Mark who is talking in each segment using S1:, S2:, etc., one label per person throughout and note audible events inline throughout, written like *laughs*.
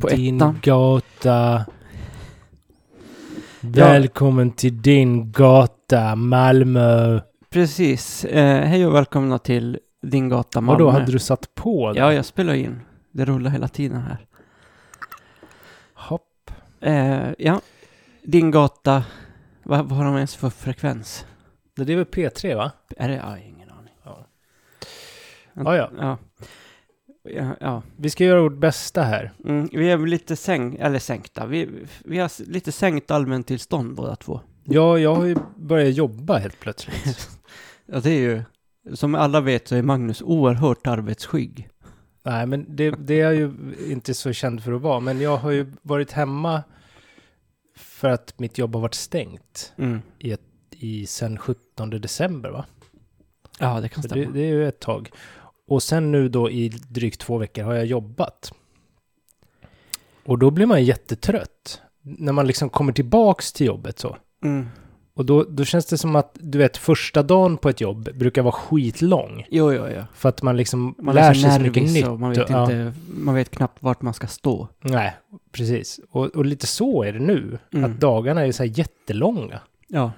S1: på
S2: din
S1: ettan.
S2: gata. Välkommen till din gata, Malmö.
S1: Precis. Eh, hej och välkomna till Din gata Malmö.
S2: Och då hade du satt på den?
S1: Ja, jag spelar in. Det rullar hela tiden här.
S2: Hopp.
S1: Eh, ja. Din gata. Vad, vad har de ens för frekvens?
S2: Det är väl P3 va?
S1: Är det? Jag har ingen aning.
S2: Ja. Ja, ja.
S1: Ja. Ja, ja.
S2: Vi ska göra vårt bästa här.
S1: Mm, vi är väl lite sänk, eller sänkta. Vi, vi har s- lite sänkt allmäntillstånd båda två.
S2: Ja, jag har ju börjat jobba
S1: *laughs*
S2: helt plötsligt.
S1: Ja, det är ju, som alla vet så är Magnus oerhört arbetsskygg.
S2: Nej, men det, det är jag ju inte så känd för att vara. Men jag har ju varit hemma för att mitt jobb har varit stängt
S1: Mm.
S2: i sen 17 december va?
S1: Ja, det kan
S2: Så det,
S1: stämma.
S2: det är ju ett tag. Och sen nu då i drygt två veckor har jag jobbat. Och då blir man jättetrött. När man liksom kommer tillbaks till jobbet så.
S1: Mm.
S2: Och då, då känns det som att, du vet, första dagen på ett jobb brukar vara skitlång.
S1: Jo, jo, jo.
S2: För att man liksom
S1: Man
S2: lär
S1: är så
S2: sig så
S1: nervig
S2: mycket nytt.
S1: så man vet,
S2: och- ja.
S1: inte, man vet knappt vart man ska stå.
S2: Nej, precis. Och, och lite så är det nu.
S1: Mm.
S2: Att dagarna är så här jättelånga.
S1: Ja.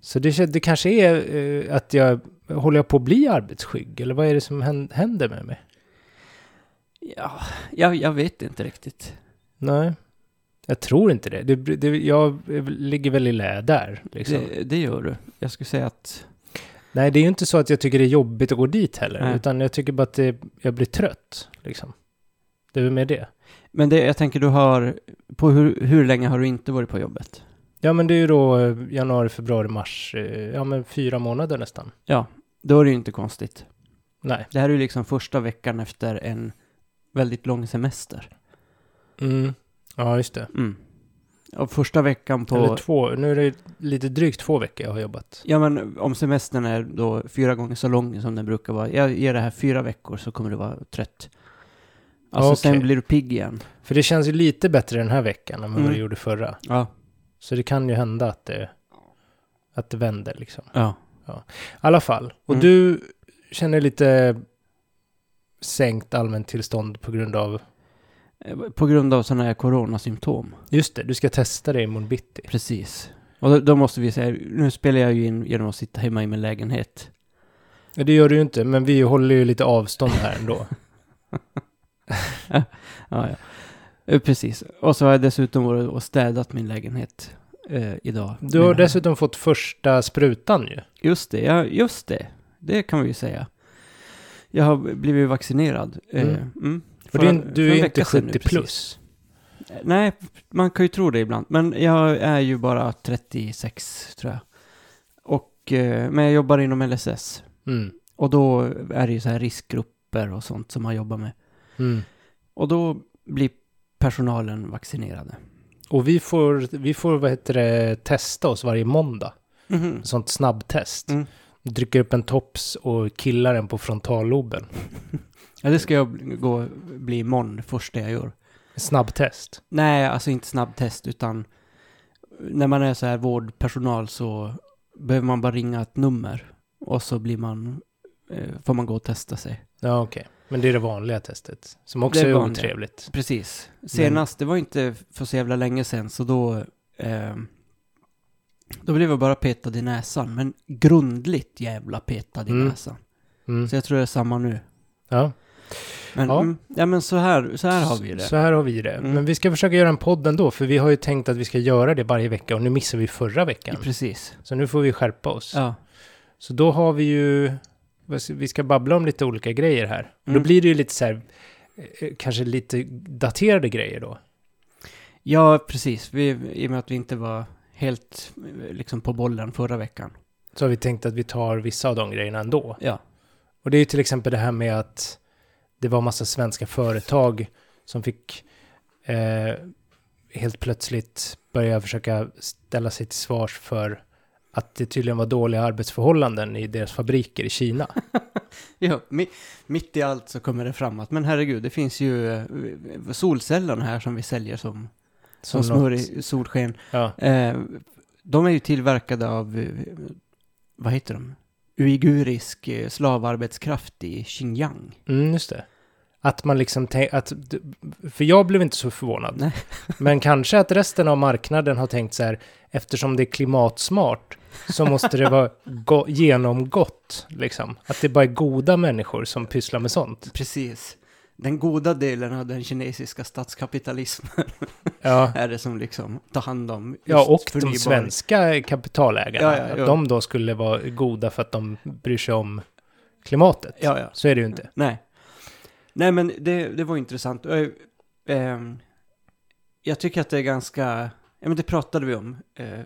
S2: Så det, kän- det kanske är eh, att jag, håller jag på att bli arbetsskygg? Eller vad är det som hän- händer med mig?
S1: ja jag, jag vet inte riktigt.
S2: Nej, jag tror inte det. det, det jag ligger väl i lä där. Liksom.
S1: Det, det gör du. Jag skulle säga att...
S2: Nej, det är ju inte så att jag tycker det är jobbigt att gå dit heller.
S1: Nej.
S2: Utan jag tycker bara att det, jag blir trött. Liksom. Det är väl med det.
S1: Men det, jag tänker du har... På hur, hur länge har du inte varit på jobbet?
S2: Ja, men det är ju då eh, januari, februari, mars. eh, Ja, men fyra månader nästan.
S1: Ja, då är det ju inte konstigt.
S2: Nej.
S1: Det här är ju liksom första veckan efter en väldigt lång semester.
S2: Mm. Ja, just det.
S1: Mm. Och första veckan på...
S2: Eller två. Nu är det lite drygt två veckor jag har jobbat.
S1: Ja, men om semestern är då fyra gånger så lång som den brukar vara. Jag ger det här fyra veckor så kommer du vara trött. Alltså
S2: Okej.
S1: sen blir du pigg igen.
S2: För det känns ju lite bättre den här veckan än vad
S1: Mm.
S2: det gjorde förra.
S1: Ja.
S2: Så det kan ju hända att det, att det vänder liksom.
S1: Ja.
S2: I alla fall. Och
S1: Mm.
S2: du känner lite sänkt allmänt tillstånd på grund av...
S1: Eh, På grund av sådana här coronasymptom.
S2: Just det, du ska testa det imorgon bitti.
S1: Precis. Och då, då måste vi säga, nu spelar jag ju in genom att sitta hemma i min lägenhet.
S2: Ja, Det gör du ju inte, men vi håller ju lite avstånd här
S1: *laughs*
S2: ändå.
S1: Ja, ja. Eh, Precis. Och så har jag dessutom varit och städat min lägenhet eh, idag.
S2: Du har
S1: Mina-
S2: dessutom fått första sprutan ju.
S1: Just det, ja, just det. Det kan vi ju säga. Jag har blivit vaccinerad. eh,
S2: Mm.
S1: Mm.
S2: För
S1: För-
S2: din,
S1: för en
S2: du är
S1: vecka
S2: inte
S1: sedan nu,
S2: 70 plus.
S1: Eh, Nej, man kan ju tro det ibland. Men jag är ju bara 36 tror jag. Och, eh, men jag jobbar inom LSS.
S2: Mm.
S1: Och då är det ju så här riskgrupper och sånt som man jobbar med.
S2: Mm.
S1: Och då blir personalen vaccinerade.
S2: Och vi får, vi får vad heter det, testa oss varje måndag.
S1: Mhm.
S2: Sånt snabbtest.
S1: Mm.
S2: Dricker upp en tops och killar den på frontalloben.
S1: Ja, det ska jag bli- gå, bli imorgon, första jag gör.
S2: Snabbtest.
S1: Nej, alltså inte snabbtest, utan när man är så här vårdpersonal så behöver man bara ringa ett nummer och så blir man, eh, får man gå och testa sig.
S2: Ja, okej. Men det är det vanliga testet. Som också
S1: Det är
S2: är,
S1: vanliga.
S2: otrevligt.
S1: Precis. Senast, det var inte för så jävla länge sedan, så då, eh, då blev jag bara petad i näsan, men grundligt jävla petad i
S2: Mm.
S1: näsan.
S2: Mm.
S1: Så jag tror det är samma nu.
S2: Ja.
S1: Men, ja.
S2: Ja.
S1: Mm, ja, men så här, så här har vi det.
S2: Så här har vi det.
S1: Mm.
S2: Men vi ska försöka göra en podd ändå, för vi har ju tänkt att vi ska göra det varje vecka och nu missar vi förra veckan.
S1: Precis.
S2: Så nu får vi skärpa oss.
S1: Ja.
S2: Så då har vi ju, vad ska- vi ska babbla om lite olika grejer här. Då
S1: Mm.
S2: blir det ju lite så här, eh, kanske lite daterade grejer då.
S1: ja, precis. Vi, I och med att vi inte var helt eh, liksom, på bollen förra veckan.
S2: Så har vi tänkt att vi tar vissa av de grejerna ändå.
S1: Ja.
S2: Och det är ju till exempel det här med att det var massa svenska företag som fick eh, helt plötsligt börja försöka ställa sig till svars för att det tydligen var dåliga arbetsförhållanden i deras fabriker i Kina.
S1: ja mi, mitt i allt så kommer det fram att, men herregud, det finns ju eh, solcellerna här som vi säljer som, *laughs* som,
S2: något-
S1: snurr i solsken.
S2: Ja,
S1: Eh, de är ju tillverkade av, eh, vad heter de? Uigurisk eh, slavarbetskraft i Xinjiang.
S2: mm, just det. Att man liksom tänk, att, för jag blev inte så förvånad.
S1: Nej.
S2: Men kanske att resten av marknaden har tänkt så här, eftersom det är klimatsmart så måste det vara go- genomgått, liksom. Att det bara är goda människor som pysslar med sånt.
S1: Precis. Den goda delen av den kinesiska statskapitalismen
S2: Ja,
S1: *laughs* är det som liksom tar hand om just
S2: ja och de
S1: förnybar-
S2: svenska kapitalägarna,
S1: Ja, ja, ja.
S2: att de då skulle vara goda för att de bryr sig om klimatet.
S1: Ja, ja.
S2: Så är det ju inte.
S1: Nej. Nej, men det, det var intressant. Eh, ehm, jag tycker att det är ganska... Ja, men det pratade vi om eh,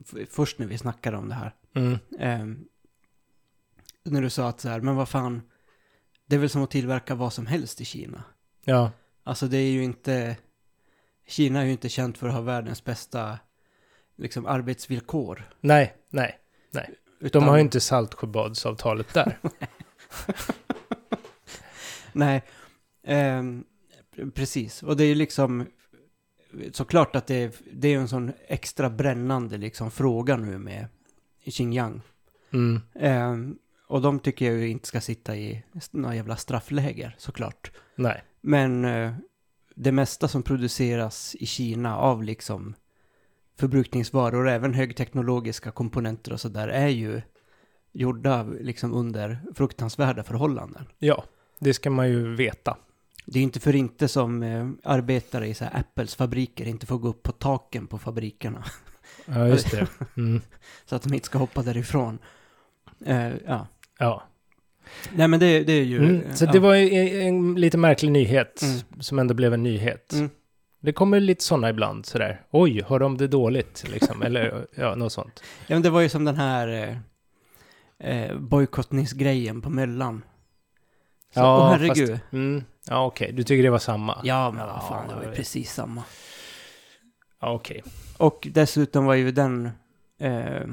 S1: f- först när vi snackade om det här.
S2: Mm.
S1: Ehm, när du sa att så här, men vad fan, det är väl som att tillverka vad som helst i Kina.
S2: Ja,
S1: Alltså det är ju inte, Kina är ju inte känt för att ha världens bästa liksom arbetsvillkor.
S2: nej, nej.
S1: Utan,
S2: De har ju inte Saltsjöbadsavtalet där.
S1: Nej, ehm, precis. Och det är ju liksom, såklart att det är, det är ju en sån extra brännande liksom fråga nu med Xinjiang.
S2: Mm.
S1: Ehm, och de tycker jag ju inte ska sitta i några jävla straffläger såklart.
S2: Nej.
S1: Men eh, det mesta som produceras i Kina av liksom förbrukningsvaror, även högteknologiska komponenter och sådär, är ju gjorda liksom under fruktansvärda förhållanden.
S2: Ja, det ska man ju veta.
S1: Det är inte för inte som eh, arbetare i så här Apples fabriker inte får gå upp på taken på fabrikerna *laughs*
S2: Ja, just det. *laughs* Mm.
S1: så att de inte ska hoppa därifrån. Eh, ja.
S2: Ja.
S1: Nej men det, det är ju...
S2: Mm. Så
S1: ja.
S2: det var ju en, en lite märklig nyhet
S1: Mm.
S2: som ändå blev en nyhet.
S1: Mm.
S2: Det kommer lite sådana ibland sådär. Oj, har de det dåligt liksom? Eller ja, något sånt.
S1: Ja, men det var ju som den här eh, eh, bojkottningsgrejen på Möllan. Så,
S2: Ja,
S1: åh, herregud.
S2: Mm. Ja, okej. Du tycker det var samma?
S1: Ja, men vad fan, det var
S2: Ja, jag
S1: ju
S2: vet.
S1: precis samma.
S2: Ja, okej.
S1: Och dessutom var ju den... Eh,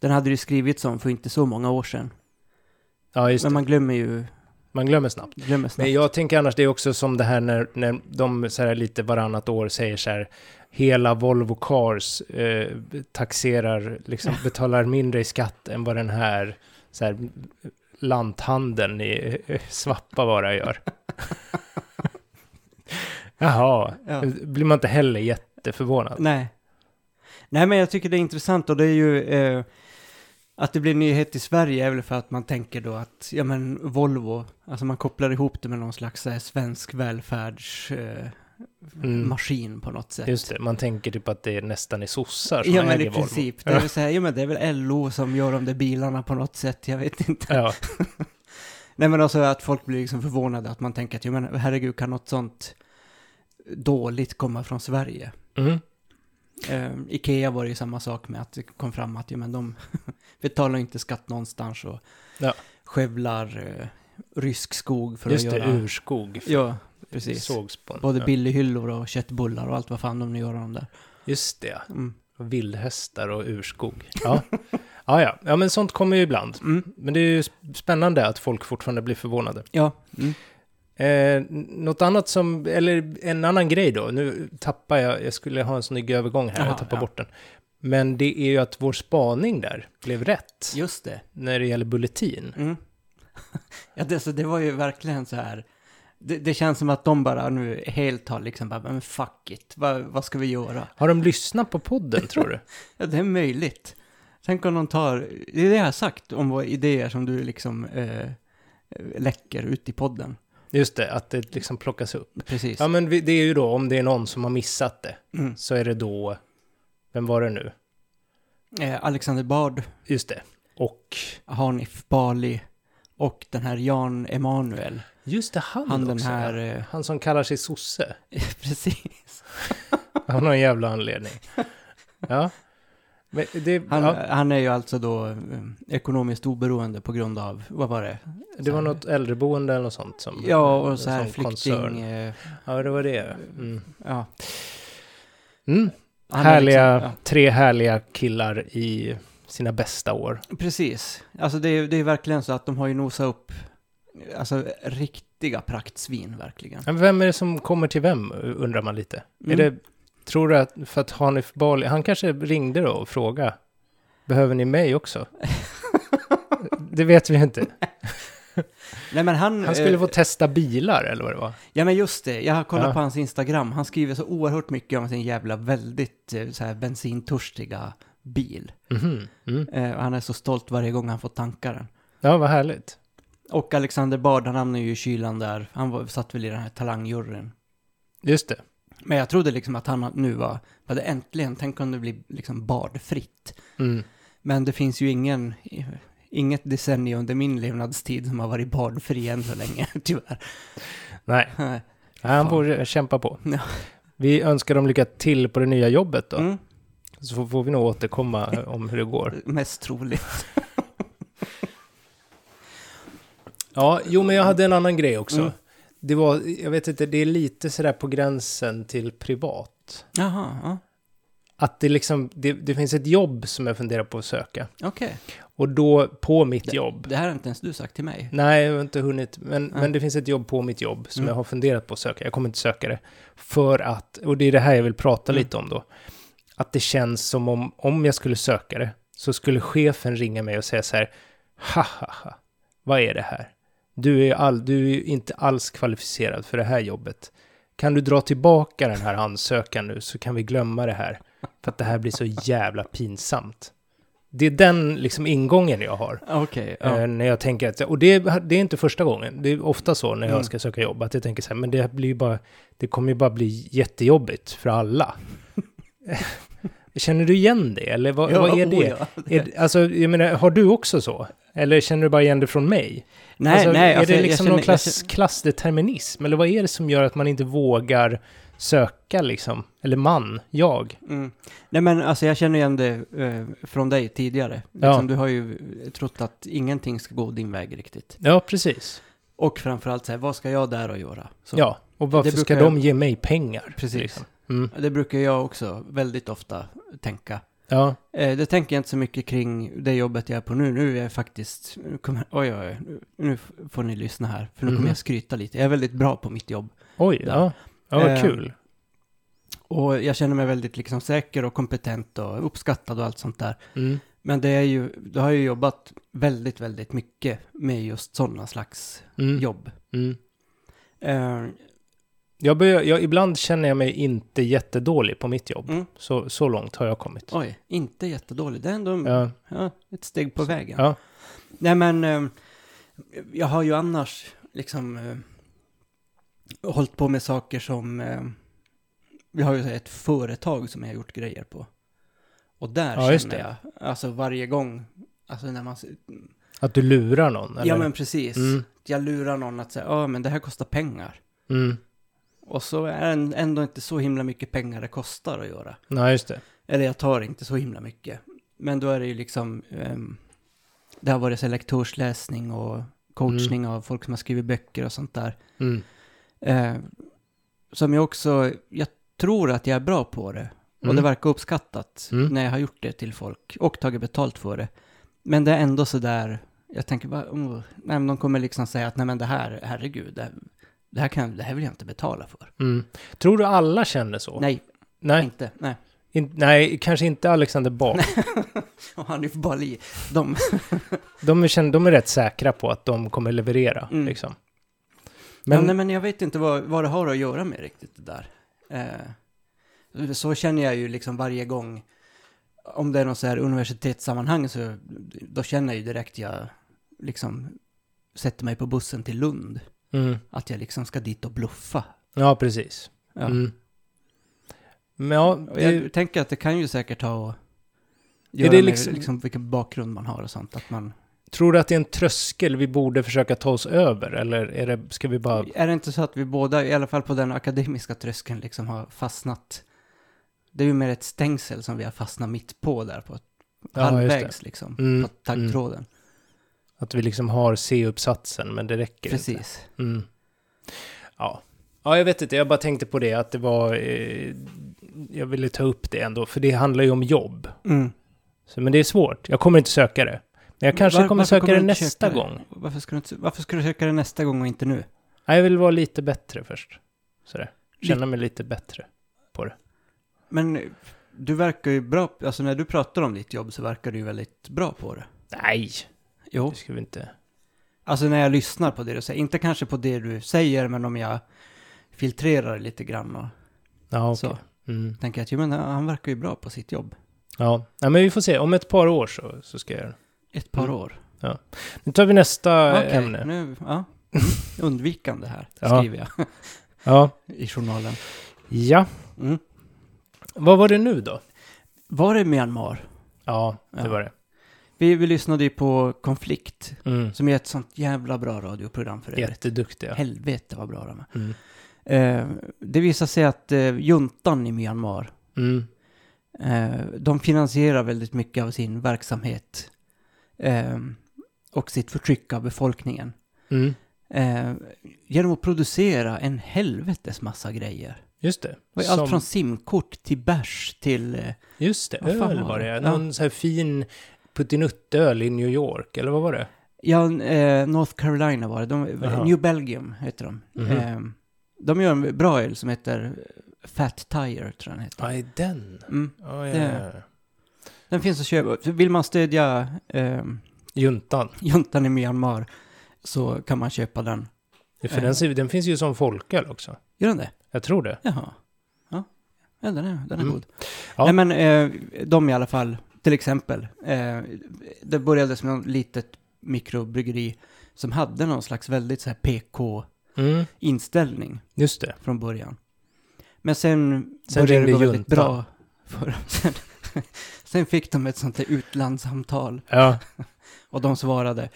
S1: den hade det ju skrivits om för inte så många år sedan.
S2: Ja, just
S1: Men
S2: det.
S1: man glömmer ju...
S2: Man glömmer snabbt.
S1: Glömmer snabbt.
S2: Men jag tänker annars, det är också som det här när, när de så här lite varannat år säger så här, hela Volvo Cars eh, taxerar,
S1: *laughs*
S2: liksom betalar mindre i skatt än vad den här, så här lanthandeln i eh,
S1: *laughs*
S2: Svappavaara gör. Jaha,
S1: Ja.
S2: blir man inte heller jätteförvånad.
S1: Nej. Nej, men jag tycker det är intressant och det är ju... Eh, att det blir nyhet i Sverige är väl för att man tänker då att, ja men Volvo, alltså man kopplar ihop det med någon slags så här, svensk välfärdsmaskin eh,
S2: Mm.
S1: maskin på något sätt.
S2: Just det, man tänker typ att det är nästan är sossar som
S1: Ja men
S2: äger
S1: i
S2: Volvo.
S1: princip, det är väl så här, ja men det är väl LO som gör de där bilarna på något sätt, jag vet inte.
S2: Ja,
S1: Nej men alltså att folk blir liksom förvånade att man tänker att, ja men herregud kan något sånt dåligt komma från Sverige?
S2: mm.
S1: Eh, Ikea var det ju samma sak med att det kom fram att, ja men de *laughs* betalar inte skatt någonstans och
S2: Ja.
S1: skövlar eh, rysk skog för
S2: just
S1: att
S2: det,
S1: göra...
S2: urskog.
S1: Ja, precis.
S2: Sågspån.
S1: Både
S2: Ja.
S1: billighyllor och köttbullar och allt vad fan de nu gör av dem där.
S2: Just det,
S1: Mm.
S2: Vildhästar och
S1: *laughs*
S2: urskog. Ja. ja, ja. Ja, men sånt kommer ju ibland.
S1: Mm.
S2: Men det är ju sp- spännande att folk fortfarande blir förvånade.
S1: Ja. Mm.
S2: Eh, n- något annat som, eller en annan grej då. Nu tappar jag, jag skulle ha en snygg övergång här,
S1: Jaha,
S2: jag tappar
S1: ja.
S2: bort den. Men det är ju att vår spaning där blev rätt
S1: Just det.
S2: när det gäller bulletin.
S1: Mm. *laughs* Ja, det, så det var ju verkligen så här. Det, det känns som att de bara nu helt har liksom bara, men fuck it, vad, vad ska vi göra?
S2: Har de lyssnat på podden
S1: *laughs*
S2: tror du?
S1: Ja, det är möjligt. Tänk om de tar, det är det jag har sagt om våra idéer som du liksom eh, läcker ut i podden.
S2: Just det, att det liksom plockas upp.
S1: Precis.
S2: Ja, men vi- det är ju då om det är någon som har missat det,
S1: Mm.
S2: så är det då, vem var det nu?
S1: Eh, Alexander Bard,
S2: Just det. Och
S1: Hanif Bali och den här Jan Emanuel.
S2: Just det, han,
S1: Han
S2: också,
S1: den här,
S2: ja.
S1: eh,
S2: Han som kallar sig sosse.
S1: *laughs* precis.
S2: Av någon jävla anledning. Ja. Men det,
S1: Han,
S2: ja,
S1: han är ju alltså då eh, ekonomiskt oberoende på grund av, vad var det?
S2: det var något äldreboende eller något sånt som...
S1: Ja, och så
S2: en
S1: här
S2: sån koncern.
S1: flykting... Eh,
S2: Ja, det var det. Mm.
S1: Ja.
S2: Mm.
S1: Han är
S2: Härliga,
S1: liksom-
S2: tre härliga killar i sina bästa år.
S1: ja, precis. Alltså det är, det är verkligen så att de har ju nosat upp alltså, riktiga praktsvin verkligen.
S2: Men vem är det som kommer till vem, undrar man lite.
S1: Mm.
S2: Är det, tror du att, för att Hanif Bali, han kanske ringde då
S1: *laughs*
S2: och frågade, behöver ni mig också? det vet vi ju inte.
S1: Nej men han...
S2: Han skulle
S1: eh,
S2: få testa bilar eller vad det var.
S1: Ja men just det, jag har kollat
S2: Ja.
S1: på hans Instagram. Han skriver så oerhört mycket om sin jävla väldigt eh, så här bensintörstiga bil.
S2: Mhm. Mm.
S1: Eh, och han är så stolt varje gång han får tanka den.
S2: Ja, vad härligt.
S1: Och Alexander Bard, han hamnade ju i kylan där. Han var, satt väl i den här talangjuryn.
S2: Just det.
S1: Men jag trodde liksom att han nu var, hade äntligen, tänk om det blir liksom Bard-fritt.
S2: Mm.
S1: Men det finns ju ingen, inget decennium under min levnadstid som har varit Bard-fri än så länge, *laughs* tyvärr.
S2: Nej, Nej, han
S1: Fan.
S2: borde kämpa på.
S1: Ja.
S2: Vi önskar dem lycka till på det nya jobbet då.
S1: Mm,
S2: Så får vi nog återkomma eh, om hur det går.
S1: mest troligt.
S2: Ja, jo men jag hade en annan grej också.
S1: Mm.
S2: Det var, jag vet inte, det är lite sådär på gränsen till privat.
S1: Jaha, ja.
S2: Att det liksom, det, det finns ett jobb som jag funderar på att söka.
S1: okej.
S2: Och då på mitt jobb.
S1: Det här har inte ens du sagt till mig.
S2: Nej, jag har inte hunnit, men,
S1: Nej.
S2: men det finns ett jobb på mitt jobb som
S1: Mm.
S2: jag har funderat på att söka. Jag kommer inte söka det. För att, och det är det här jag vill prata
S1: Mm.
S2: lite om då. Att det känns som om, om jag skulle söka det, så skulle chefen ringa mig och säga så här, ha ha ha, vad är det här? Du är, all, du är inte alls kvalificerad för det här jobbet. Kan du dra tillbaka den här ansökan nu så kan vi glömma det här. För att det här blir så jävla pinsamt. Det är den liksom ingången jag har.
S1: Okej,
S2: Eh, När jag tänker att, och det, det är inte första gången, det är ofta så när jag
S1: Mm.
S2: ska söka jobb, att jag tänker så här, men det, blir ju bara, det kommer ju bara bli jättejobbigt
S1: *laughs*
S2: för alla. känner du igen det, eller vad, vad är
S1: oh,
S2: det? Är, det- alltså, jag menar, har du också så? Eller känner du bara igen det från mig?
S1: Nej,
S2: alltså,
S1: nej,
S2: är
S1: alltså,
S2: det
S1: jag
S2: liksom
S1: känner-
S2: någon klass,
S1: jag känner-
S2: klassdeterminism? Eller vad är det som gör att man inte vågar söka liksom? Eller man, jag?
S1: Mm. Nej men alltså jag känner igen det eh, från dig tidigare.
S2: Ja.
S1: Liksom, Du har ju trott att ingenting ska gå din väg riktigt.
S2: Ja, precis.
S1: Och framförallt så här, vad ska jag där och göra? Så,
S2: Ja, och varför ska
S1: brukar jag-
S2: de ge mig pengar?
S1: Precis.
S2: Liksom? Mm.
S1: Det brukar jag också väldigt ofta tänka.
S2: Ja,
S1: Eh, det tänker jag inte så mycket kring det jobbet jag är på nu. Nu är jag faktiskt, nu kommer, oj, oj, oj, nu- nu f- får ni lyssna här, för nu
S2: Mhm.
S1: kommer jag skryta lite. Jag är väldigt bra på mitt jobb.
S2: oj,
S1: Där.
S2: ja. Ja, vad
S1: Eh,
S2: kul.
S1: Och jag känner mig väldigt liksom säker och kompetent och uppskattad och allt sånt där.
S2: Mm.
S1: Men det är ju, då har jag ju jobbat väldigt, väldigt mycket med just sådana slags
S2: Mm.
S1: jobb.
S2: Mm.
S1: Eh,
S2: Jag börjar, jag, ibland känner jag mig inte jättedålig på mitt jobb.
S1: Mm.
S2: Så, så långt har jag kommit.
S1: oj, inte jättedålig. Det är ändå
S2: Ja,
S1: ja, ett steg på vägen.
S2: ja.
S1: Nej men, eh, jag har ju annars liksom eh, hållit på med saker som, eh, vi har ju så här ett företag som jag har gjort grejer på. Och där
S2: Ja, just
S1: känner jag, alltså varje gång, alltså när man,
S2: Att du lurar någon? Eller?
S1: ja men precis,
S2: Mm.
S1: jag lurar någon att säga, ja men det här kostar pengar.
S2: Mm.
S1: Och så är det ändå inte så himla mycket pengar det kostar att göra.
S2: Nej, just det.
S1: Eller jag tar inte så himla mycket. Men då är det ju liksom, ehm, det har varit så här lektorsläsning och coachning av folk som har skrivit böcker och sånt där.
S2: Mm.
S1: Eh, som jag också, jag tror att jag är bra på det. Och
S2: Mm.
S1: det verkar uppskattat
S2: Mm.
S1: när jag har gjort det till folk och tagit betalt för det. Men det är ändå så där, jag tänker bara, oh, nej, men de kommer liksom säga att nej men det här, herregud, det, det, här, kan, det här vill jag inte betala för.
S2: Mm. Tror du alla känner så?
S1: Nej,
S2: Nej,
S1: inte, nej. *laughs*
S2: in, nej kanske inte Alexander Bard.
S1: Och Hanif Bali, de,
S2: *laughs* De, är, känner- de är rätt säkra på att de kommer leverera.
S1: Mm.
S2: Liksom.
S1: Men,
S2: Men,
S1: nej, men jag vet inte vad, vad det har att göra med riktigt det där. Eh, så känner jag ju liksom varje gång. Om det är någon så här universitetssammanhang så då känner jag ju direkt jag liksom sätter mig på bussen till Lund.
S2: mm.
S1: Att jag liksom ska dit och bluffa.
S2: Ja, precis.
S1: Ja.
S2: Mm. Men ja,
S1: Och jag
S2: det,
S1: tänker att det kan ju säkert ha och
S2: Är
S1: göra
S2: det
S1: med
S2: liksom-
S1: liksom... vilken bakgrund man har och sånt. Att man,
S2: tror du att det är en tröskel vi borde försöka ta oss över? Eller är det, ska vi bara...
S1: Är det inte så att vi båda, i alla fall på den akademiska tröskeln, liksom har fastnat? Det är ju mer ett stängsel som vi har fastnat mitt på där på
S2: Ja, just
S1: halvvägs liksom,
S2: Mm,
S1: på taggtråden.
S2: Att vi liksom har C-uppsatsen, men det räcker inte.
S1: Precis.
S2: Mm. Ja. ja, jag vet inte, jag bara tänkte på det, att det var... Eh, jag ville ta upp det ändå, för det handlar ju om jobb.
S1: Mm.
S2: Så, men det är svårt, jag kommer inte söka det. Men jag kanske
S1: Var-
S2: kommer
S1: varför
S2: söka det
S1: du inte
S2: nästa
S1: söka
S2: gång.
S1: Varför ska, du inte, varför ska du söka det nästa gång och inte nu?
S2: Nej, jag vill vara lite bättre först. Sådär.
S1: Lite-
S2: Känna mig lite bättre.
S1: Men eh, du verkar ju bra, alltså när du pratar om ditt jobb så verkar du ju väldigt bra på det.
S2: Nej,
S1: Jo.
S2: det ska vi inte...
S1: Alltså när jag lyssnar på det du säger. Inte kanske på det du säger, men om jag filtrerar lite grann och
S2: Ja, okej.
S1: så.
S2: Mm.
S1: Tänker jag att jo, men han verkar ju bra på sitt jobb.
S2: Ja. ja, men vi får se. Om ett par år så, så ska jag göra det.
S1: Ett par
S2: Mm.
S1: år.
S2: Nu tar vi nästa
S1: Okej,
S2: Mm. Äh, ämne.
S1: nu, ja. Mm. Undvikande här,
S2: *laughs* Ja.
S1: skriver jag
S2: Ja.
S1: i journalen.
S2: ja,
S1: Mm.
S2: vad var det nu då?
S1: Var det Myanmar?
S2: Ja, det
S1: Ja.
S2: var det.
S1: Vi, vi lyssnade ju på Konflikt,
S2: Mm.
S1: som är ett sånt jävla bra radioprogram för övrigt.
S2: Jätteduktiga.
S1: Helvete vad bra de är.
S2: Mm.
S1: Eh, det visar sig att eh, juntan i Myanmar,
S2: Mm.
S1: eh, de finansierar väldigt mycket av sin verksamhet eh, och sitt förtryck av befolkningen
S2: Mm.
S1: eh, genom att producera en helvetes massa grejer.
S2: Just det.
S1: Det var ju
S2: Som-
S1: allt från simkort till bärs till... Eh,
S2: Just det,
S1: Vad fan
S2: öl
S1: var
S2: var
S1: det?
S2: det.
S1: Ja.
S2: Någon så här fin puttinuttöl i New York, eller vad var det?
S1: ja, eh, North Carolina var det. De,
S2: Jaha.
S1: New Belgium heter de.
S2: Mhm.
S1: Eh, de gör en bra öl som heter eh, Fat Tire, tror jag den heter.
S2: Aj, den.
S1: Mm.
S2: Oh, ja,
S1: Det-
S2: ja.
S1: Den finns att köpa. Vill man stödja ehm,
S2: Juntan.
S1: juntan i Myanmar så kan man köpa den.
S2: För
S1: Eh.
S2: den, ser- den finns ju som folköl också.
S1: Gör den det?
S2: Jag tror det.
S1: Jaha. Ja, ja den är, den är
S2: Mm.
S1: god. Nej
S2: Ja.
S1: men eh, de i alla fall, till exempel. Eh, det började som något litet mikrobryggeri som hade någon slags väldigt så här PK-inställning
S2: Mm, just det.
S1: från början. Men sen,
S2: Sen
S1: började det
S2: ringde
S1: gå väldigt
S2: juntan.
S1: bra för dem. *laughs* Sen, sen fick de ett sånt där utlandssamtal.
S2: Ja,
S1: Och de svarade.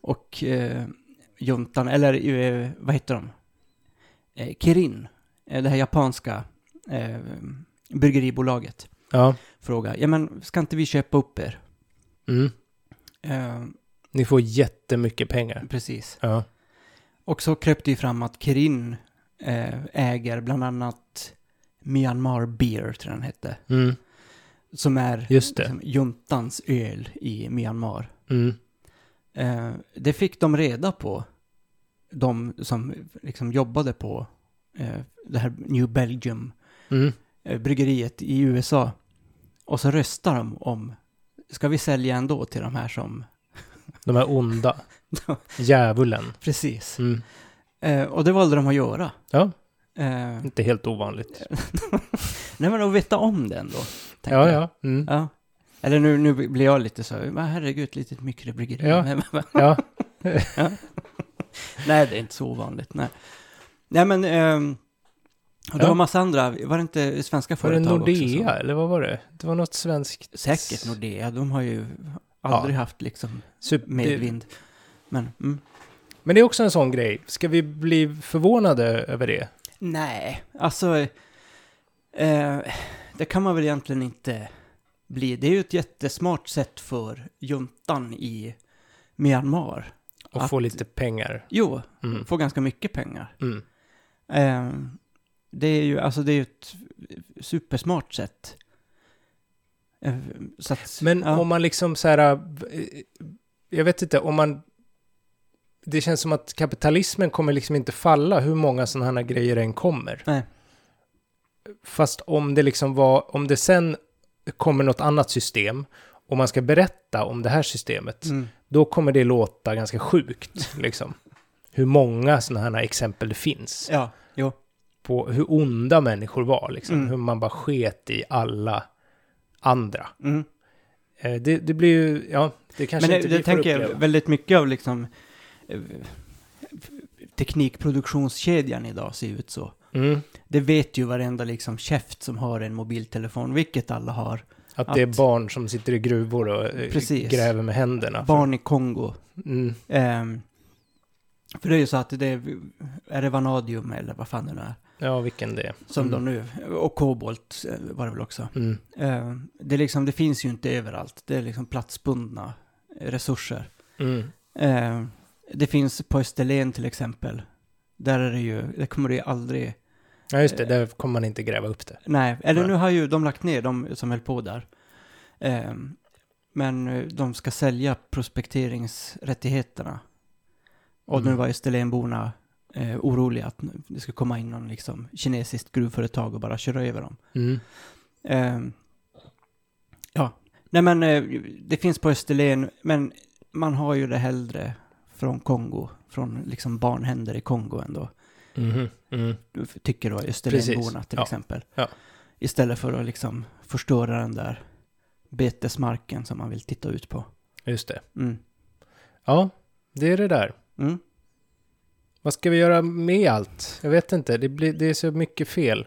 S1: Och eh, juntan, eller eh, vad heter de? Eh, Kirin, eh, det här japanska eh, bryggeribolaget,
S2: ja.
S1: frågade. Ja men ska inte vi köpa upp er?
S2: Mm.
S1: Eh,
S2: Ni får jättemycket pengar.
S1: precis.
S2: Ja.
S1: Och så kröp det ju fram att Kirin eh, äger bland annat Myanmar Beer, tror jag den hette.
S2: Mm,
S1: Som är
S2: just det.
S1: liksom, juntans öl i Myanmar.
S2: Mm.
S1: Eh, det fick de reda på, de som liksom jobbade på eh, det här New Belgium-bryggeriet
S2: Mm.
S1: i USA. Och så röstar de om, ska vi sälja ändå till de här som...
S2: De är
S1: *laughs*
S2: onda. Djävulen.
S1: Precis.
S2: Mm.
S1: Eh, och det valde de att göra.
S2: Ja,
S1: Eh,
S2: inte helt ovanligt.
S1: nej men att veta om det ändå. tänker
S2: Ja,
S1: jag.
S2: ja. Mm.
S1: ja. Eller nu, nu blir jag lite så, men herregud, ett litet mikrobryggeri.
S2: Ja.
S1: *laughs* Men-
S2: Ja,
S1: Nej, det är inte så ovanligt. Nej, nej men... ehm, och det
S2: Ja.
S1: var massa andra, var det inte svenska
S2: var det
S1: företag också?
S2: Nordea,
S1: som-
S2: eller vad var det? Det var något svenskt.
S1: Säkert Nordea, de har ju aldrig haft liksom
S2: Super-
S1: medvind. Men, mm.
S2: Men det är också en sån grej. Ska vi bli förvånade över det?
S1: Nej, alltså... Eh, det kan man väl egentligen inte bli. Det är ju ett jättesmart sätt för juntan i Myanmar.
S2: Och
S1: Att-
S2: få lite pengar?
S1: Jo,
S2: Mm.
S1: får ganska mycket pengar.
S2: Mm.
S1: Eh, det är ju alltså det är ju ett supersmart sätt. Eh, så att,
S2: Men
S1: ja,
S2: om man liksom så här... eh, Jag vet inte, om man... Det känns som att kapitalismen kommer liksom inte falla hur många sådana här grejer än kommer.
S1: Nej.
S2: Fast om det liksom var, om det sen kommer något annat system och man ska berätta om det här systemet,
S1: mm,
S2: då kommer det låta
S1: *laughs*
S2: ganska sjukt liksom. Hur många sådana här exempel det finns.
S1: ja, jo,
S2: på hur onda människor var, liksom.
S1: Mm.
S2: hur man bara sket i alla andra.
S1: mm.
S2: Eh, det, det blir ju, ja, det kanske
S1: Men det,
S2: inte
S1: det
S2: vi
S1: tänker
S2: får
S1: jag
S2: uppleva.
S1: väldigt mycket av liksom eh, teknikproduktionskedjan idag ser ut så.
S2: Mm,
S1: Det vet ju varenda liksom käft som har en mobiltelefon, vilket alla har.
S2: att, det är
S1: att-
S2: barn som sitter i gruvor och eh,
S1: Precis.
S2: gräver med händerna. för-
S1: Barn i Kongo.
S2: Mm,
S1: Ehm, för det är ju så att det är, är det vanadium eller vad fan det nu är.
S2: ja, vilken det är.
S1: Som
S2: Mm.
S1: de nu, och kobolt eh, var det väl också.
S2: Mm,
S1: Eh, det, är liksom, det finns ju inte överallt. Det är liksom platsbundna resurser.
S2: mm,
S1: Eh, det finns på Österlen till exempel. Där är det ju, det kommer det ju aldrig,
S2: ja, just det, där kommer man inte gräva upp det.
S1: nej, eller
S2: Nej.
S1: nu har ju de lagt ner de som höll på där. Eh, men eh, de ska sälja prospekteringsrättigheterna. Och nu
S2: Mm.
S1: var Österlenborna eh, oroliga att nu- det skulle komma in någon liksom kinesiskt gruvföretag och bara köra över dem.
S2: Mm,
S1: Eh, ja, nej men eh, det finns på Österlen, men man har ju det hellre från Kongo, från liksom barnhänder i Kongo ändå,
S2: Mhm, mm.
S1: tycker då Österlenborna till
S2: Ja.
S1: exempel.
S2: Ja.
S1: Istället för att liksom förstöra den där betesmarken som man vill titta ut på.
S2: Just det.
S1: Mm.
S2: Ja, det är det där.
S1: Mm.
S2: Vad ska vi göra med allt? Jag vet inte, det, blir, det är så mycket fel.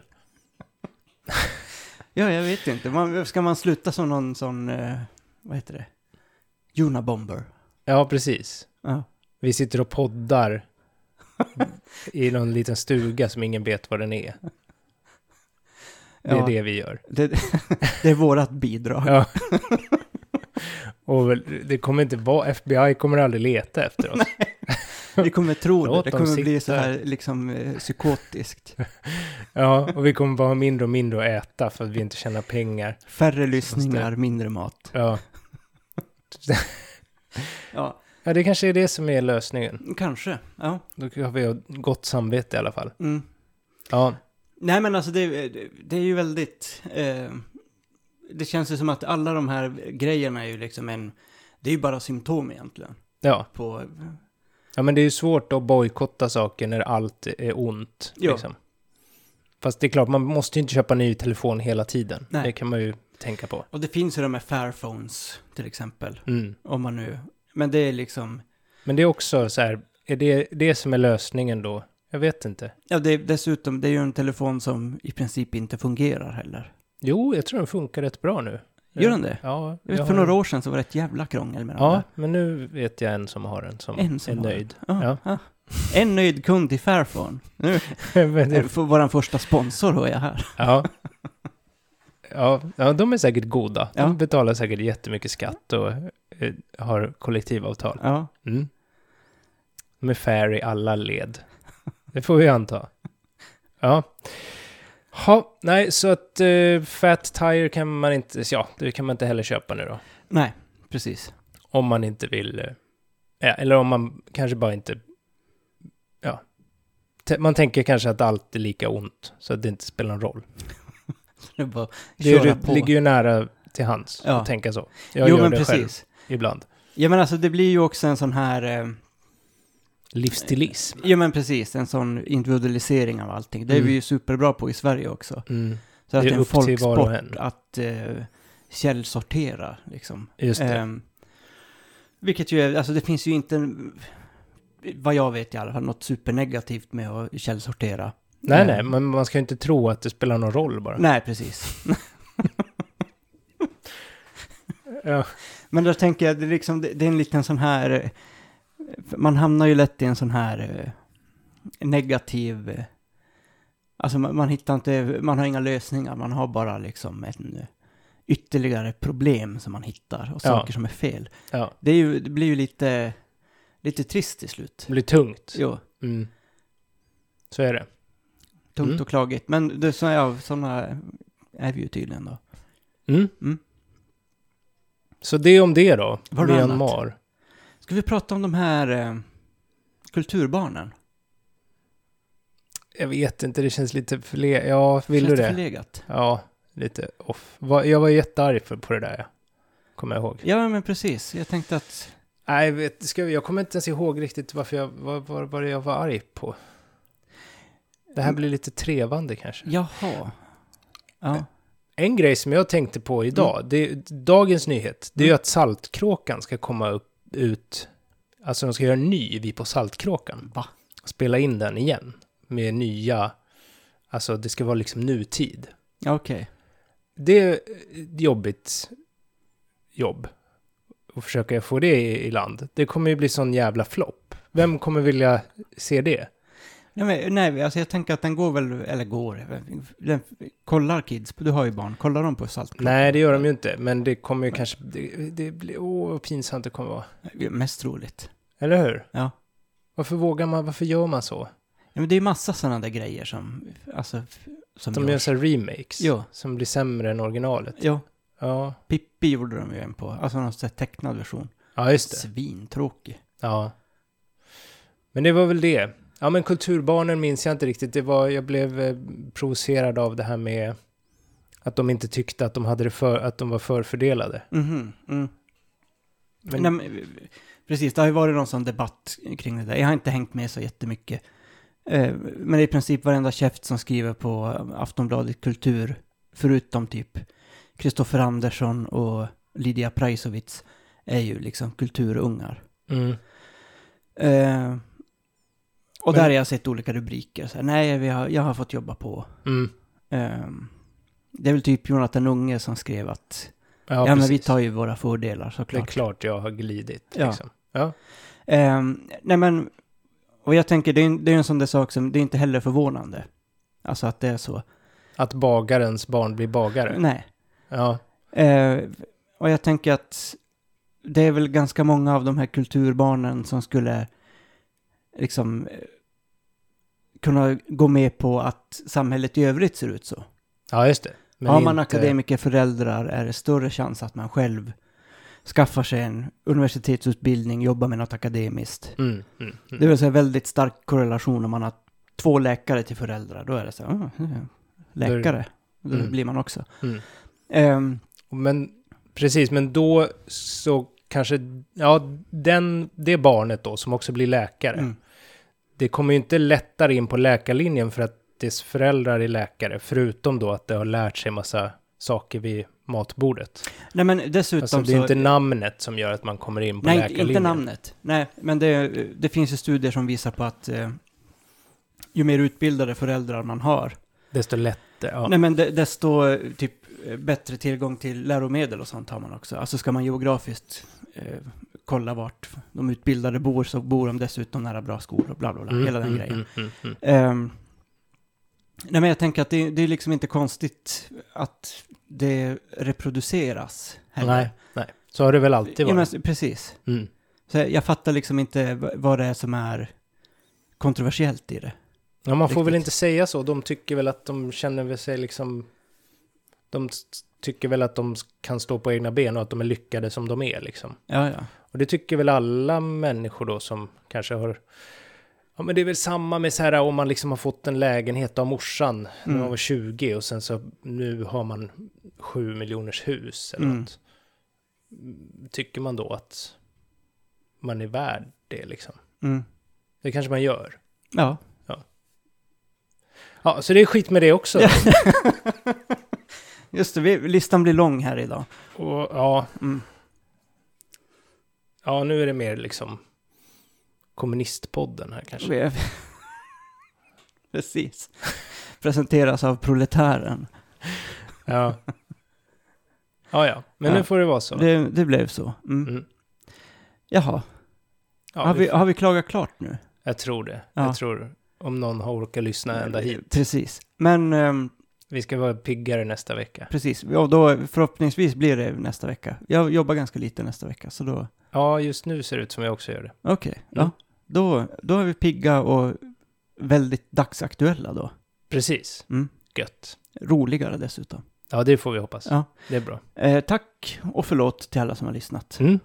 S1: Ja, jag vet inte. Man, ska man sluta som någon sån, eh, vad heter det? Junabomber.
S2: Ja, precis.
S1: Ja.
S2: Vi sitter och poddar
S1: *laughs*
S2: i någon liten stuga som ingen vet vad den är. Det är
S1: Ja.
S2: det vi gör.
S1: Det, *laughs* det är vårat bidrag.
S2: Ja. Och väl, det kommer inte vara, FBI kommer aldrig leta efter oss.
S1: Vi kommer tro det.
S2: Låt
S1: Det
S2: dem
S1: kommer bli
S2: sitta.
S1: så här liksom eh, psykotiskt.
S2: Ja, och vi kommer bara ha mindre och mindre att äta för att vi inte tjänar pengar.
S1: Färre lyssningar, mindre mat.
S2: Ja,
S1: Ja,
S2: ja det kanske är det som är lösningen.
S1: kanske. Ja.
S2: Då har vi gott samvete i alla fall.
S1: Mm.
S2: Ja,
S1: Nej, men alltså det, det är ju väldigt... Eh, det känns ju som att alla de här grejerna är ju liksom en... Det är ju bara symptom egentligen.
S2: ja.
S1: På,
S2: Ja, men det är ju svårt att bojkotta saker när allt är ont.
S1: Ja.
S2: Liksom. Fast det är klart, man måste ju inte köpa ny telefon hela tiden.
S1: Nej.
S2: Det kan man ju tänka på.
S1: och det finns ju de här Fairphones till exempel.
S2: Mm.
S1: Om man nu... Men det är liksom...
S2: Men det är också så här, är det det som är lösningen då? Jag vet inte.
S1: Ja, det är, dessutom, det är ju en telefon som i princip inte fungerar heller.
S2: Jo, jag tror den funkar rätt bra nu.
S1: Gör den det?
S2: Ja,
S1: Jag vet,
S2: jag
S1: för
S2: har-
S1: några år sedan så var det ett jävla krångel med den
S2: Ja,
S1: där.
S2: men nu vet jag en som har en som,
S1: En som
S2: är
S1: har
S2: nöjd. *laughs*
S1: Ja,
S2: Ja.
S1: ja. En nöjd kund i Fairphone. Nu, *laughs*
S2: Men det-
S1: för vår första sponsor hör jag här.
S2: ja. Ja, ja, de är säkert goda. De
S1: Ja.
S2: betalar säkert jättemycket skatt och eh, har kollektivavtal.
S1: Ja.
S2: Mm. De är fair i alla led. Det får vi anta. Ja. Ha, nej, så att eh, Fat Tire kan man inte, ja, det kan man inte heller köpa nu då.
S1: Nej, precis.
S2: Om man inte vill, eh, ja, eller om man kanske bara inte, ja. T- man tänker kanske att allt är lika ont, så att det inte spelar någon roll.
S1: Det är bara att
S2: Det är,
S1: köra
S2: ju-
S1: på.
S2: ligger ju nära till hands
S1: Ja.
S2: att tänka så. Jag
S1: jo,
S2: gör
S1: men
S2: det själv
S1: precis.
S2: ibland.
S1: Ja, men alltså det blir ju också en sån här... Eh,
S2: Livsstilism.
S1: ja, men precis. En sån individualisering av allting. Det är
S2: Mm.
S1: vi ju superbra på i Sverige också.
S2: Mm,
S1: Så att
S2: Det
S1: det
S2: är
S1: är en
S2: upp till var och
S1: folksport
S2: en.
S1: att eh, källsortera, liksom.
S2: just det.
S1: Ehm, vilket ju är, alltså det finns ju inte, en- vad jag vet i alla fall, något supernegativt med att källsortera.
S2: nej,
S1: Ehm,
S2: nej, men man ska ju inte tro att det spelar någon roll bara.
S1: Nej, precis.
S2: Ja.
S1: Men då tänker jag, det är, liksom, det, det är en liten sån här, eh, man hamnar ju lätt i en sån här eh, negativ, eh, alltså man, man hittar inte, man har inga lösningar, man har bara liksom en eh, ytterligare problem som man hittar och
S2: Ja.
S1: saker som är fel.
S2: Ja,
S1: Det, är ju, det blir ju lite, lite trist till slut.
S2: det blir tungt.
S1: Jo,
S2: Mm. Så är det.
S1: tungt
S2: Mm.
S1: och klagigt. Men det, så ja, sådana är vi ju tydligen då.
S2: Mm.
S1: Mm.
S2: Så det om det då.
S1: Var det
S2: Myanmar.
S1: Ska vi prata om de här eh, kulturbarnen?
S2: Jag vet inte, det känns lite förle... Ja, vill
S1: Känns
S2: du det?
S1: Förlegat?
S2: Ja, lite off. Va- Jag var jättearg för- på det där, ja. kommer jag ihåg.
S1: Ja, men precis. Jag tänkte att...
S2: Nej, jag vet, ska vi, jag kommer inte ens ihåg riktigt varför jag, vad, vad, vad det jag var arg på. Det här
S1: Mm.
S2: blir lite trevande kanske.
S1: Jaha. Ja.
S2: En grej som jag tänkte på idag,
S1: Mm.
S2: det, dagens nyhet, det är ju att Saltkråkan ska komma upp, ut, alltså de ska göra en ny Vi på Saltkråkan.
S1: Va?
S2: Spela in den igen med nya, alltså det ska vara liksom nutid.
S1: Ja, Okej.
S2: Det är ett jobbigt jobb att försöka få det i, i land. Det kommer ju bli sån jävla flopp. Vem kommer vilja se det?
S1: Nej, men, nej, alltså jag tänker att den går väl, eller går, den, kollar kids, du har ju barn, kollar de på Saltkråkan?
S2: Nej, det gör de ju inte, men det kommer ju kanske, det, det blir, åh vad pinsamt det kommer vara.
S1: ju. Mest troligt.
S2: Eller hur?
S1: Ja.
S2: Varför vågar man, varför gör man så?
S1: ja men det är ju massa sådana där grejer som, alltså, som
S2: De gör så här remakes
S1: Ja.
S2: som blir sämre än originalet.
S1: Ja,
S2: Ja,
S1: Pippi gjorde de ju en på, alltså någon sån här tecknad version.
S2: ja just det.
S1: Svintråkig.
S2: Ja. Men det var väl det. Ja, men kulturbarnen minns jag inte riktigt. Det var, jag blev eh, provocerad av det här med att de inte tyckte att de, hade det för, att de var förfördelade.
S1: Mhm. Mm.
S2: Men,
S1: Nej, men, Precis, det har ju varit någon sån debatt kring det där. Jag har inte hängt med så jättemycket. Eh, Men i princip varenda käft som skriver på Aftonbladet Kultur, förutom typ Kristoffer Andersson och Lydia Prajsovits, är ju liksom kulturungar.
S2: Mm.
S1: Eh, och där
S2: Men-
S1: har jag sett olika rubriker. Så här, Nej, vi har, jag har fått jobba på.
S2: Mm.
S1: Ehm, det är väl typ Jonathan Unge som skrev att
S2: Ja,
S1: ja, men vi
S2: precis.
S1: tar ju våra fördelar
S2: Det är
S1: såklart.
S2: klart jag har glidit.
S1: Ja.
S2: Liksom. Ja.
S1: Ehm, nej men, och jag tänker det är, en- det är en sån där sak som, det är inte heller förvånande. Alltså att det är så.
S2: Att bagarens barn blir bagare.
S1: Nej.
S2: Ja.
S1: Ehm, och jag tänker att det är väl ganska många av de här kulturbarnen som skulle liksom eh, kunna gå med på att samhället i övrigt ser ut så.
S2: ja, just det. Men
S1: Har man
S2: inte-
S1: akademikerföräldrar är det större chans att man själv skaffar sig en universitetsutbildning, jobbar med något akademiskt.
S2: Mm, mm,
S1: Det
S2: mm.
S1: vill säga väldigt stark korrelation om man har två läkare till föräldrar. Då är det så här, "Ah, eh, läkare, då
S2: Mm.
S1: blir man också.
S2: Mm.
S1: Ehm,
S2: Men precis, men då så kanske, ja, den, det barnet då som också blir läkare,
S1: mm.
S2: det kommer ju inte lättare in på läkarlinjen för att dess föräldrar är läkare, förutom då att det har lärt sig massa saker vid matbordet.
S1: Nej men dessutom
S2: Alltså det
S1: så...
S2: är inte namnet som gör att man kommer in på
S1: nej, inte-
S2: läkarlinjen.
S1: inte namnet. Nej, men det, det finns ju studier som visar på att eh, ju mer utbildade föräldrar man har,
S2: Desto lättare, ja.
S1: Nej men de, desto eh, typ eh, bättre tillgång till läromedel och sånt har man också. Alltså ska man geografiskt eh, kolla vart de utbildade bor så bor de dessutom nära bra skolor och bla bla bla,
S2: Mm,
S1: hela den
S2: mm,
S1: grejen.
S2: mm, mm, mm.
S1: Ehm, nej men jag tänker att det, det är liksom inte konstigt att det reproduceras. heller.
S2: Nej, nej. Så har det väl alltid
S1: Ja, men,
S2: varit.
S1: s- precis.
S2: Mm.
S1: Så jag jag fattar liksom inte v- vad det är som är kontroversiellt i det.
S2: Ja, man får väl
S1: Riktigt.
S2: inte säga så. De tycker väl att de känner väl sig liksom... De s- tycker väl att de s- kan stå på egna ben och att de är lyckade som de är liksom.
S1: Ja, ja.
S2: Och det tycker väl alla människor då som kanske har... Ja, men det är väl samma med så här om man liksom har fått en lägenhet av morsan när man
S1: Mm.
S2: var 20 och sen så nu har man 7 miljoners hus eller
S1: Mm.
S2: något. Tycker man då att man är värd det liksom?
S1: Mm.
S2: Det kanske man gör.
S1: Ja.
S2: Ja, så det är skit med det också.
S1: Ja. Just det, vi, listan blir lång här idag.
S2: Och, ja,
S1: Mm.
S2: Ja, nu är det mer liksom kommunistpodden här kanske.
S1: Vi- *laughs* Precis. Presenteras av proletären.
S2: Ja. ja, ja, men
S1: Ja.
S2: nu får det vara så.
S1: Det, det blev så. Mm.
S2: Mm.
S1: Jaha,
S2: Ja,
S1: har,
S2: vi,
S1: vi, har vi klagat klart nu?
S2: jag tror det.
S1: Ja.
S2: Jag tror om någon har orkat lyssna ända hit.
S1: Precis. Men ehm,
S2: Vi ska vara piggare nästa vecka.
S1: precis, och då förhoppningsvis blir det nästa vecka. Jag jobbar ganska lite nästa vecka, så då...
S2: Ja, just nu ser det ut som jag också gör det.
S1: Okej, ja.
S2: Mm.
S1: Då, då är vi pigga och väldigt dagsaktuella då.
S2: Precis.
S1: Mm.
S2: Gött.
S1: Roligare dessutom.
S2: Ja, det får vi hoppas.
S1: Ja.
S2: Det är bra.
S1: Eh, tack och förlåt till alla som har lyssnat.
S2: Mm.